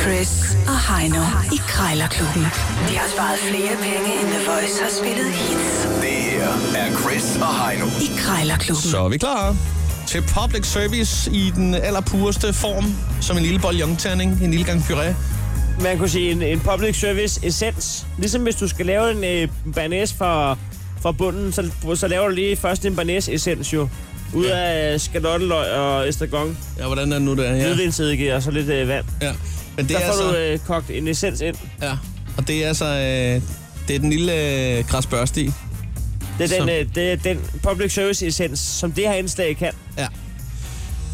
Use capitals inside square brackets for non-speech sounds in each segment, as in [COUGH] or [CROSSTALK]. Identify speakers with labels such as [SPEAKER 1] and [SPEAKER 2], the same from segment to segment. [SPEAKER 1] Chris og Heino i Krejlerklubben. De har sparet flere penge, end The Voice har spillet hits
[SPEAKER 2] Det her er Chris og Heino.
[SPEAKER 1] i Krejlerklubben.
[SPEAKER 3] Så er vi klar til public service i den allerpureste form, som en lille bouillonterning, en lille gang puré.
[SPEAKER 4] Man kunne sige en, en public service essens. Ligesom hvis du skal lave en øh, banæs fra, fra bunden, så, så laver du lige først en banæs essens jo. Ud
[SPEAKER 3] Ja.
[SPEAKER 4] af skalotteløg og estragon,
[SPEAKER 3] Ja, hvordan er det nu, det er?
[SPEAKER 4] ja.
[SPEAKER 3] Ja.
[SPEAKER 4] hvidvindsedike og så lidt øh, vand.
[SPEAKER 3] ja. Men det
[SPEAKER 4] Der
[SPEAKER 3] er
[SPEAKER 4] får du
[SPEAKER 3] så,
[SPEAKER 4] øh, kogt en essens ind.
[SPEAKER 3] ja. Og det er så, øh, det er den lille øh, græsbørste i.
[SPEAKER 4] Det er,
[SPEAKER 3] Som-
[SPEAKER 4] den, øh, det er den public service essens, som det her indslag kan.
[SPEAKER 3] Ja.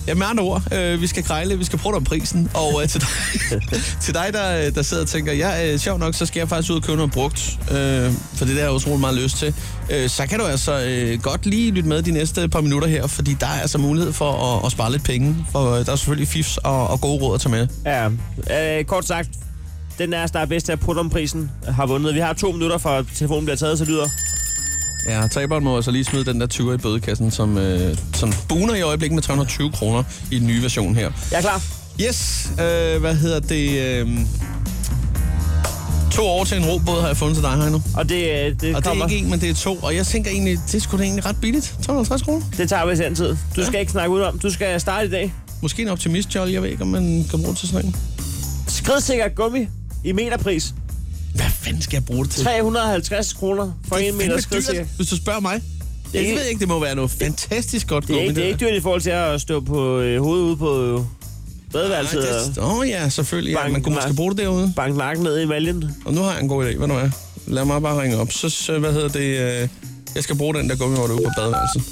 [SPEAKER 3] Ja, med andre ord, øh, vi skal krejle, vi skal prøve om prisen. Og øh, til [LAUGHS] dig, til dig der, øh, der sidder og tænker, ja, øh, sjov nok, så skal jeg faktisk ud og købe noget brugt, øh, for det der er jeg utrolig meget lyst til. Øh, så kan du altså øh, godt lige lytte med de næste par minutter her, fordi der er altså mulighed for at, at spare lidt penge, for øh, der er selvfølgelig fifs og, og gode råd at tage med.
[SPEAKER 4] Ja, øh, kort sagt, den er der er bedst til at putte om prisen, har vundet. Vi har to minutter, for telefonen bliver taget, så lyder.
[SPEAKER 3] Ja, taberen må altså lige smide den der 20'er i bødekassen, som, øh, som buner i øjeblikket med 320 kroner i den nye version her.
[SPEAKER 4] Jeg er klar.
[SPEAKER 3] Yes, øh, hvad hedder det? Øh, to år til en robåd har jeg fundet til dig, Heino.
[SPEAKER 4] Og det, øh, det
[SPEAKER 3] Og det
[SPEAKER 4] kommer.
[SPEAKER 3] er ikke en, men det er to. Og jeg tænker egentlig, det er sgu da egentlig ret billigt. 250 kroner.
[SPEAKER 4] Det tager vi i sin tid. Du
[SPEAKER 3] Ja.
[SPEAKER 4] skal ikke snakke ud om. Du skal starte i dag.
[SPEAKER 3] Måske en optimist, Joel. Jeg ved ikke, om man kan bruge det til sådan en.
[SPEAKER 4] Skridsikker gummi i meterpris.
[SPEAKER 3] Hvad fanden skal jeg bruge det til?
[SPEAKER 4] 350 kroner for
[SPEAKER 3] Det er
[SPEAKER 4] en meter
[SPEAKER 3] fandme dyrt,
[SPEAKER 4] skridsikker.
[SPEAKER 3] Hvis du spørger mig. Jeg
[SPEAKER 4] ikke-
[SPEAKER 3] ved ikke, det må være noget fantastisk godt
[SPEAKER 4] Det er,
[SPEAKER 3] gummi,
[SPEAKER 4] ikke, det er ikke dyrt i forhold til at stå på øh, hovedet ude på øh, badeværelset og
[SPEAKER 3] Åh oh, ja, selvfølgelig. Ja.
[SPEAKER 4] Bank-
[SPEAKER 3] Man kunne måske
[SPEAKER 4] nej.
[SPEAKER 3] bruge det derude.
[SPEAKER 4] banke nakken ned i maljen.
[SPEAKER 3] Og nu har jeg en god idé. Hvad nu er? Lad mig bare ringe op. Så, så hvad hedder det? Øh, jeg skal bruge den der gummi, hvor du er ude på badeværelset.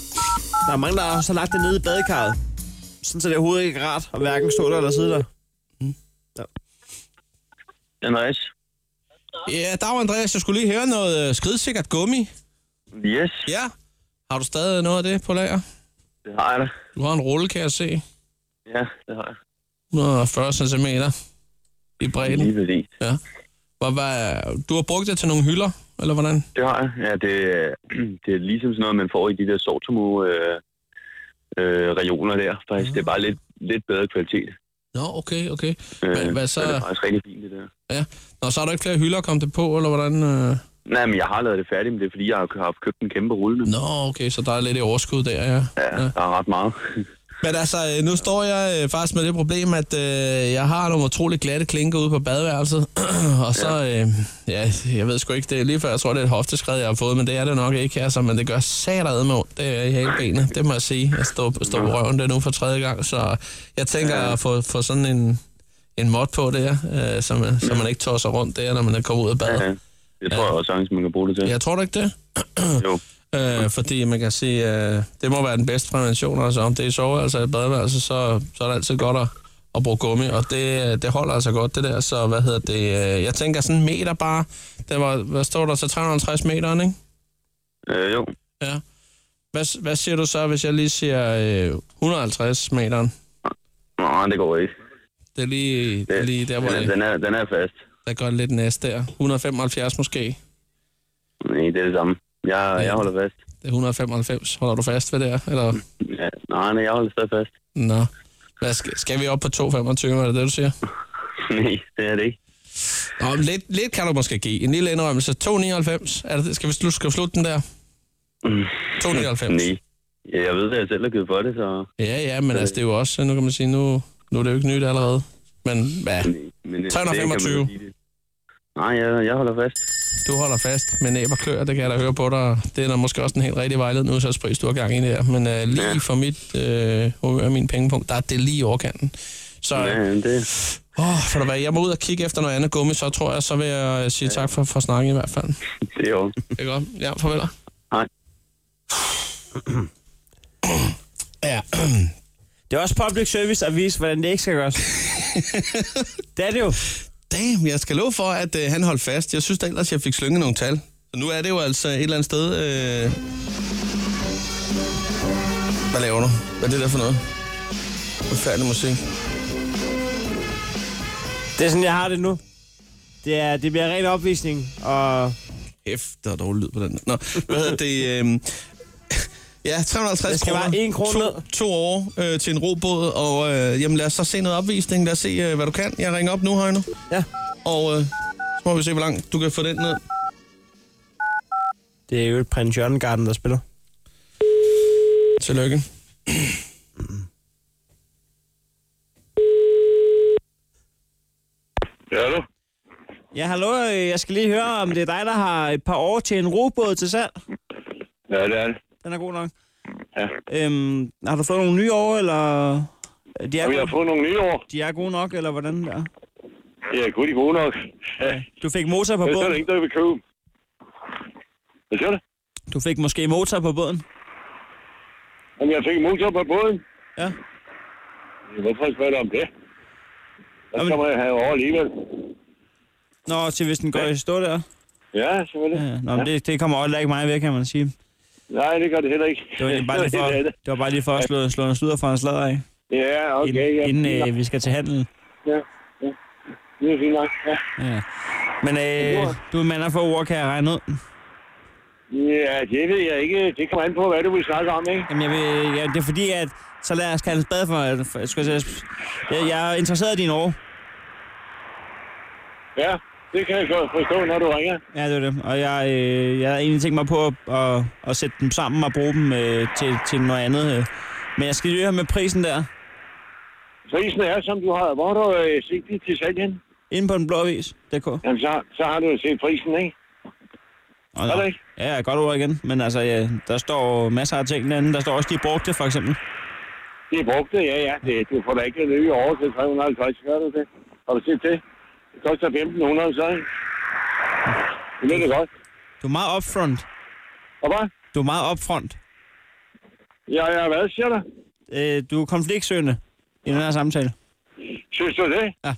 [SPEAKER 4] Der er mange, der har så lagt det nede i badekarret. Sådan, så det overhovedet ikke er rart at hverken stå der eller sidde der.
[SPEAKER 5] Andreas?
[SPEAKER 3] Ja, der var Andreas. Jeg skulle lige høre noget øh, skridsikkert gummi.
[SPEAKER 5] Yes,
[SPEAKER 3] Ja. Har du stadig noget af det på lager?
[SPEAKER 5] det har jeg da.
[SPEAKER 3] Du har en rulle, kan jeg se.
[SPEAKER 5] Ja, det har jeg.
[SPEAKER 3] 140 cm i bredden.
[SPEAKER 5] Lige præcis.
[SPEAKER 3] Ja. Hvad, hvad, du har brugt det til nogle hylder, eller hvordan?
[SPEAKER 5] Det har jeg. Ja, det, [CLEARS THROAT] det er ligesom sådan noget, man får i de der sortomu øh, øh, regioner der. Faktisk, det er bare lidt, lidt bedre kvalitet.
[SPEAKER 3] Nå, okay, okay.
[SPEAKER 5] Øh,
[SPEAKER 3] Hvad- hvad så?
[SPEAKER 5] Det er faktisk rigtig fint, det der.
[SPEAKER 3] Ja. Nå, så har du ikke flere hylder kommet det på, eller hvordan? Øh...
[SPEAKER 5] Nej, men jeg har lavet det færdigt, men det er fordi, jeg har har købt en kæmpe rulle. nu.
[SPEAKER 3] Nå, okay, så der er lidt i overskud der, ja.
[SPEAKER 5] Ja, der er ret meget. [LAUGHS]
[SPEAKER 3] Men altså, øh, nu står jeg øh, faktisk med det problem, at øh, jeg har nogle utroligt glatte klinker ude på badeværelset. [CLEARS THROAT] og så, øh, ja, jeg ved sgu ikke, det er lige før, jeg tror, det er et hofteskred, jeg har fået, men det er det nok ikke, altså, men det gør sateret med ondt, det er i hele benet, det må jeg sige. Jeg står, står på røven det nu for tredje gang, så jeg tænker at få, få sådan en, en mod på der, øh, så, man, så man ikke tosser rundt der, når man er kommet ud af badet.
[SPEAKER 5] Ja, det tror jeg også, sagtens, man kan bruge det til.
[SPEAKER 3] Jeg tror du ikke det?
[SPEAKER 5] Jo.
[SPEAKER 3] Øh, fordi man kan sige, øh, det må være den bedste prævention, altså om det er sove, altså et badeværelse, så, så er det altid godt at, at bruge gummi, og det, øh, det holder altså godt, det der, så hvad hedder det, øh, jeg tænker sådan en meter bare, det var, hvad står der, så 350 meter, ikke?
[SPEAKER 5] Øh, jo.
[SPEAKER 3] Ja. Hvad, s- hvad siger du så, hvis jeg lige siger øh, 150 meter?
[SPEAKER 5] Nej, det går ikke.
[SPEAKER 3] Det er lige, det er lige der, hvor
[SPEAKER 5] den, er,
[SPEAKER 3] det,
[SPEAKER 5] den, er, den er fast.
[SPEAKER 3] der går lidt næst der. 175 måske.
[SPEAKER 5] Nej, det er det samme. Jeg, jeg holder fast.
[SPEAKER 3] Det er 195. Holder du fast ved der? Eller?
[SPEAKER 5] Ja, nej, nej, jeg holder stadig fast. [LAUGHS]
[SPEAKER 3] Nå. Hvad, skal, skal vi op på 225, er det det, du siger?
[SPEAKER 5] Nej, det er det ikke.
[SPEAKER 3] Nå, men lidt, lidt kan du måske give. En lille indrømmelse. 2,99. Er det det, skal vi slutte, skal vi slutte den der? 2,99.
[SPEAKER 5] Nej. Ja, jeg ved, at jeg selv har givet for det, så...
[SPEAKER 3] Ja, ja, men altså, det er jo også, nu kan man sige, nu, nu er det jo ikke nyt allerede. Men hvad?
[SPEAKER 5] Men,
[SPEAKER 3] 325.
[SPEAKER 5] øh, det kan man jo sige det. Nej, jeg, jeg holder fast.
[SPEAKER 3] Du holder fast med næb og klør, det kan jeg da høre på dig. Det er da måske også en helt rigtig vejledende udsatspris, du har gang i der. Men øh, lige for mit øh, humør og min pengepunkt, der er det lige i overkanten. Så
[SPEAKER 5] Ja,
[SPEAKER 3] øh,
[SPEAKER 5] ja, det,
[SPEAKER 3] åh, for hvad, jeg må ud og kigge efter noget andet gummi, så tror jeg, så vil jeg øh, sige tak for, for snakken i hvert fald.
[SPEAKER 5] det er jo.
[SPEAKER 3] Det er godt. Ja, farvel.
[SPEAKER 5] Hej.
[SPEAKER 3] [CLEARS THROAT] Ja,
[SPEAKER 4] Det er også public service at vise, hvordan det ikke
[SPEAKER 3] [LAUGHS]
[SPEAKER 4] skal gøres. det er det jo.
[SPEAKER 3] Damn, jeg skal love for, at øh, han holdt fast. Jeg synes da ellers, jeg fik slynget nogle tal. Så nu er det jo altså et eller andet sted... Øh... Hvad laver du? Hvad er det der for noget? Forfærdelig musik.
[SPEAKER 4] Det er sådan, jeg har det nu. Det, er, det bliver ren opvisning, og
[SPEAKER 3] Hæft, der er dårlig lyd på den. Nå, hvad hedder det? Øh... [LAUGHS] Ja, 350
[SPEAKER 4] Der skal
[SPEAKER 3] kroner.
[SPEAKER 4] bare én krone
[SPEAKER 3] to,
[SPEAKER 4] ned.
[SPEAKER 3] to år øh, til en robåd, og øh, jamen, lad os så se noget opvisning. Lad os se, øh, hvad du kan. Jeg ringer op nu, Højne.
[SPEAKER 4] Ja.
[SPEAKER 3] Og øh, så må vi se, hvor langt du kan få den ned.
[SPEAKER 4] Det er jo et Prins Jørgen Garden, der spiller.
[SPEAKER 3] Tillykke.
[SPEAKER 5] Ja, du?
[SPEAKER 4] Ja, hallo. øh, Jeg skal lige høre, om det er dig, der har et par år til en robåd til salg.
[SPEAKER 5] Ja, det er det.
[SPEAKER 4] Den er god nok.
[SPEAKER 5] Ja.
[SPEAKER 4] Øhm, har du fået nogle nye år, eller... øh, De er,
[SPEAKER 5] Og vi har
[SPEAKER 4] gode,
[SPEAKER 5] fået nogle nye år.
[SPEAKER 4] de er gode nok, eller hvordan der?
[SPEAKER 5] Ja, gud, de er gode nok. Ja,
[SPEAKER 4] Du fik motor på
[SPEAKER 5] men så er der
[SPEAKER 4] båden.
[SPEAKER 5] ingen, der vil købe dem. Hvad siger du?
[SPEAKER 4] Du fik måske motor på båden.
[SPEAKER 5] Jamen, jeg fik en motor på båden.
[SPEAKER 4] Ja.
[SPEAKER 5] Ja, Hvorfor spørger du om det? Der
[SPEAKER 4] Jamen-
[SPEAKER 5] skal man have over alligevel.
[SPEAKER 4] Nå, til hvis den går i stå der.
[SPEAKER 5] Ja, selvfølgelig.
[SPEAKER 4] Ja, Nå, men det, det kommer heller ikke mig væk, kan man sige.
[SPEAKER 5] Nej, det gør det heller ikke.
[SPEAKER 4] Det var egentlig bare
[SPEAKER 5] [LAUGHS]
[SPEAKER 4] lige for,
[SPEAKER 5] Det er det.
[SPEAKER 4] det var bare lige for at slå, slå en sludder fra en sladder af,
[SPEAKER 5] Ja, okay.
[SPEAKER 4] inden,
[SPEAKER 5] ja.
[SPEAKER 4] inden øh, vi skal til handel.
[SPEAKER 5] Ja, ja. Det er fint nok. Ja,
[SPEAKER 4] Ja. Men øh, du er en mand af få ord, kan jeg regne ud.
[SPEAKER 5] ja det ved jeg ikke. Det kommer an på, hvad du vil snakke om, ikke?
[SPEAKER 4] Jamen, jeg vil, ja, det er fordi, at så lad os kalde en spade for, for skal jeg, sige, jeg, jeg er interesseret i din år.
[SPEAKER 5] Ja, det kan jeg godt forstå, når du ringer.
[SPEAKER 4] Ja, det er det. Og jeg, øh, jeg har egentlig tænkt mig på at, at, at sætte dem sammen og bruge dem øh, til, til noget andet. Øh. Men jeg skal lige høre med prisen der.
[SPEAKER 5] Prisen er, som du har. Hvor har du øh, set det til salg hen?
[SPEAKER 4] Inde på den blå avis. DK. Nå,
[SPEAKER 5] Jamen, så, så har du set prisen, ikke?
[SPEAKER 4] nå.
[SPEAKER 5] Er det ikke?
[SPEAKER 4] Ja, godt ord igen. Men altså, ja, der står masser af ting derinde. Der står også, de brugte, for eksempel.
[SPEAKER 5] Det er brugt, ja, ja. Det, du får da ikke nye over til 350, gør du det? Har du set det? Det koster 1500, så, ikke? Det ved det godt.
[SPEAKER 4] Du er meget upfront.
[SPEAKER 5] Og hvad?
[SPEAKER 4] Du er meget upfront.
[SPEAKER 5] Ja, ja, hvad siger du?
[SPEAKER 4] Øh, du er konfliktsøgende i den her samtale.
[SPEAKER 5] Synes du det?
[SPEAKER 4] Ja.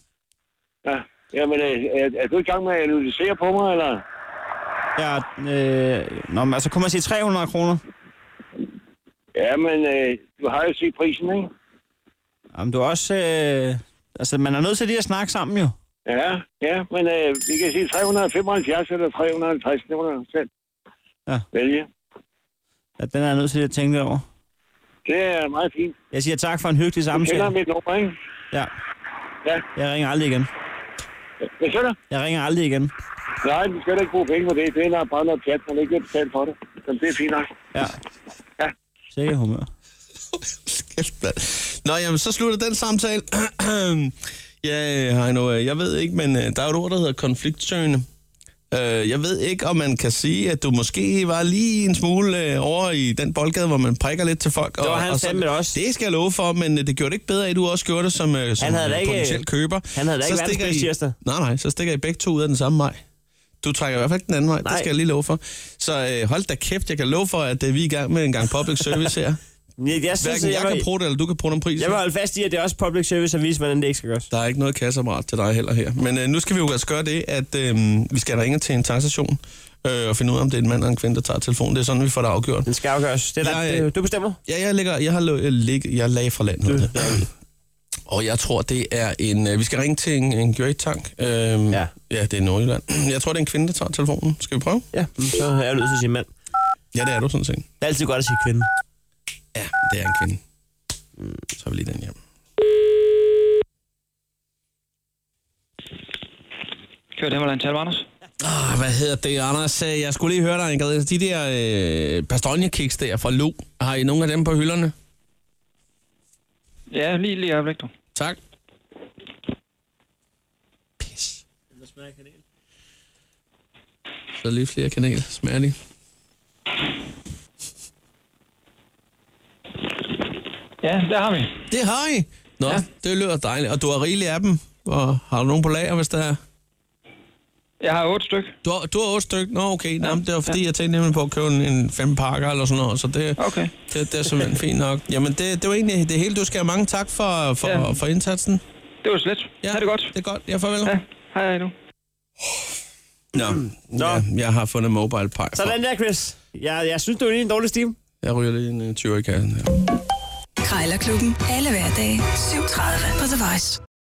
[SPEAKER 5] Ja, jamen, øh, er, er du i gang med at analysere på mig, eller?
[SPEAKER 4] Ja, øh, nå, men altså, kunne man sige 300 kroner?
[SPEAKER 5] Ja, men øh, du har jo set prisen, ikke?
[SPEAKER 4] Jamen, du er også... Øh, altså, man er nødt til lige at snakke sammen, jo.
[SPEAKER 5] Ja, ja, men øh, vi kan sige 375 eller 350, det må du selv
[SPEAKER 4] Ja.
[SPEAKER 5] vælge.
[SPEAKER 4] Ja, den er jeg nødt til lige at tænke lidt over.
[SPEAKER 5] Det er meget fint.
[SPEAKER 4] Jeg siger tak for en hyggelig
[SPEAKER 5] Du
[SPEAKER 4] samtale.
[SPEAKER 5] kender mit nummer, ikke?
[SPEAKER 4] Ja.
[SPEAKER 5] Ja.
[SPEAKER 4] Jeg ringer aldrig igen.
[SPEAKER 5] Hvad siger du?
[SPEAKER 4] Jeg ringer aldrig igen.
[SPEAKER 5] Nej, du skal da ikke bruge penge på det. Det er bare noget pjat, man ikke vil betale for det. Så det er fint nok.
[SPEAKER 4] Ja.
[SPEAKER 5] Ja.
[SPEAKER 4] Sikker humør.
[SPEAKER 3] Kæft, mand. Nå, jamen, så slutter den samtale. [CLEARS THROAT] ja, Heino, øh, jeg ved ikke, men øh, der er jo et ord, der hedder konfliktsøgende. Øh, Jeg ved ikke, om man kan sige, at du måske var lige en smule øh, over i den boldgade, hvor man prikker lidt til folk.
[SPEAKER 4] var han
[SPEAKER 3] så-
[SPEAKER 4] fandme også.
[SPEAKER 3] Det skal jeg love for, men øh, det gjorde det ikke bedre, at du også gjorde det som, øh, som
[SPEAKER 4] Han havde da
[SPEAKER 3] øh,
[SPEAKER 4] ikke-
[SPEAKER 3] potentiel køber.
[SPEAKER 4] han havde da ikke verdens
[SPEAKER 3] stikker
[SPEAKER 4] bedste
[SPEAKER 3] I-
[SPEAKER 4] tirsdag.
[SPEAKER 3] Nej, nej, så stikker I begge to ud af den samme vej. Du trækker i hvert fald ikke den anden vej, nej.
[SPEAKER 4] Nej.
[SPEAKER 3] det skal jeg lige love for. Så øh, hold da kæft, jeg kan love for, at øh, vi er i gang med en gang public service her.
[SPEAKER 4] Jeg, jeg synes,
[SPEAKER 3] Hverken
[SPEAKER 4] jeg,
[SPEAKER 3] jeg,
[SPEAKER 4] vil,
[SPEAKER 3] kan bruge det, eller du kan bruge den pris.
[SPEAKER 4] jeg vil holde fast i, at det er også public service at vise, hvordan det ikke skal gøres.
[SPEAKER 3] Der er ikke noget kasseapparat til dig heller her. Men øh, nu skal vi jo altså gøre det, at øh, vi skal ringe til en tankstation øh, og finde ud af, om det er en mand eller en kvinde, der tager telefonen. Det er sådan, vi får det afgjort.
[SPEAKER 4] Den skal afgøres. Det er
[SPEAKER 3] Jeg,
[SPEAKER 4] der,
[SPEAKER 3] øh,
[SPEAKER 4] det, du bestemmer.
[SPEAKER 3] Ja, jeg, ligger, jeg har lo- jeg lig, jeg lag fra land. Det. Og jeg tror, det er en... Øh, vi skal ringe til en, en great tank. Øh, ja. ja, det er Nordjylland. [CLEARS THROAT] Jeg tror, det er en kvinde, der tager telefonen. Skal vi prøve?
[SPEAKER 4] Ja, mm, så er jeg nødt til at sige mand.
[SPEAKER 3] Ja, det er du sådan set.
[SPEAKER 4] Det er altid godt at sige kvinde.
[SPEAKER 3] Ja, det er en kvinde. Så har vi lige den hjem.
[SPEAKER 6] Kører Himmerland til Anders?
[SPEAKER 3] Ah, hvad hedder det, Anders? Øh, Jeg skulle lige høre dig, Ingrid. De der øh, pastonjekiks der fra Lo, har I nogle af dem på hylderne?
[SPEAKER 6] Ja, lige lige øjeblik, du.
[SPEAKER 3] Tak. Pis. Så lige flere kanel. Smager de.
[SPEAKER 6] Ja, der har vi.
[SPEAKER 3] Det har I. Nå, ja. det lyder dejligt. Og du har rigeligt af dem. Og har du nogen på lager, hvis der er?
[SPEAKER 6] Jeg har otte styk.
[SPEAKER 3] Du har, du har otte stykker. Nå, okay. Nå, men det var fordi, jeg tænkte nemlig på at købe en, en fem pakker eller sådan noget. Så det,
[SPEAKER 6] Okay.
[SPEAKER 3] det, det er simpelthen fint nok. Jamen, det, det var egentlig det hele. Du skal have mange tak for, for, ja.
[SPEAKER 6] Ja.
[SPEAKER 3] for indsatsen.
[SPEAKER 6] Det var slet. Ja. Ha' det godt.
[SPEAKER 3] Det er godt. Ja, farvel. Ja.
[SPEAKER 6] Ja, hej hej nu.
[SPEAKER 3] Nå, Nå. Ja, jeg har fundet mobile pie. frem.
[SPEAKER 4] Sådan der, Chris. Jeg, jeg synes, du er i en dårlig stime.
[SPEAKER 3] Jeg ryger lige en øh, 20 i kassen her.
[SPEAKER 1] Krejlerklubben. Alle hverdage. 7.30 på The Voice.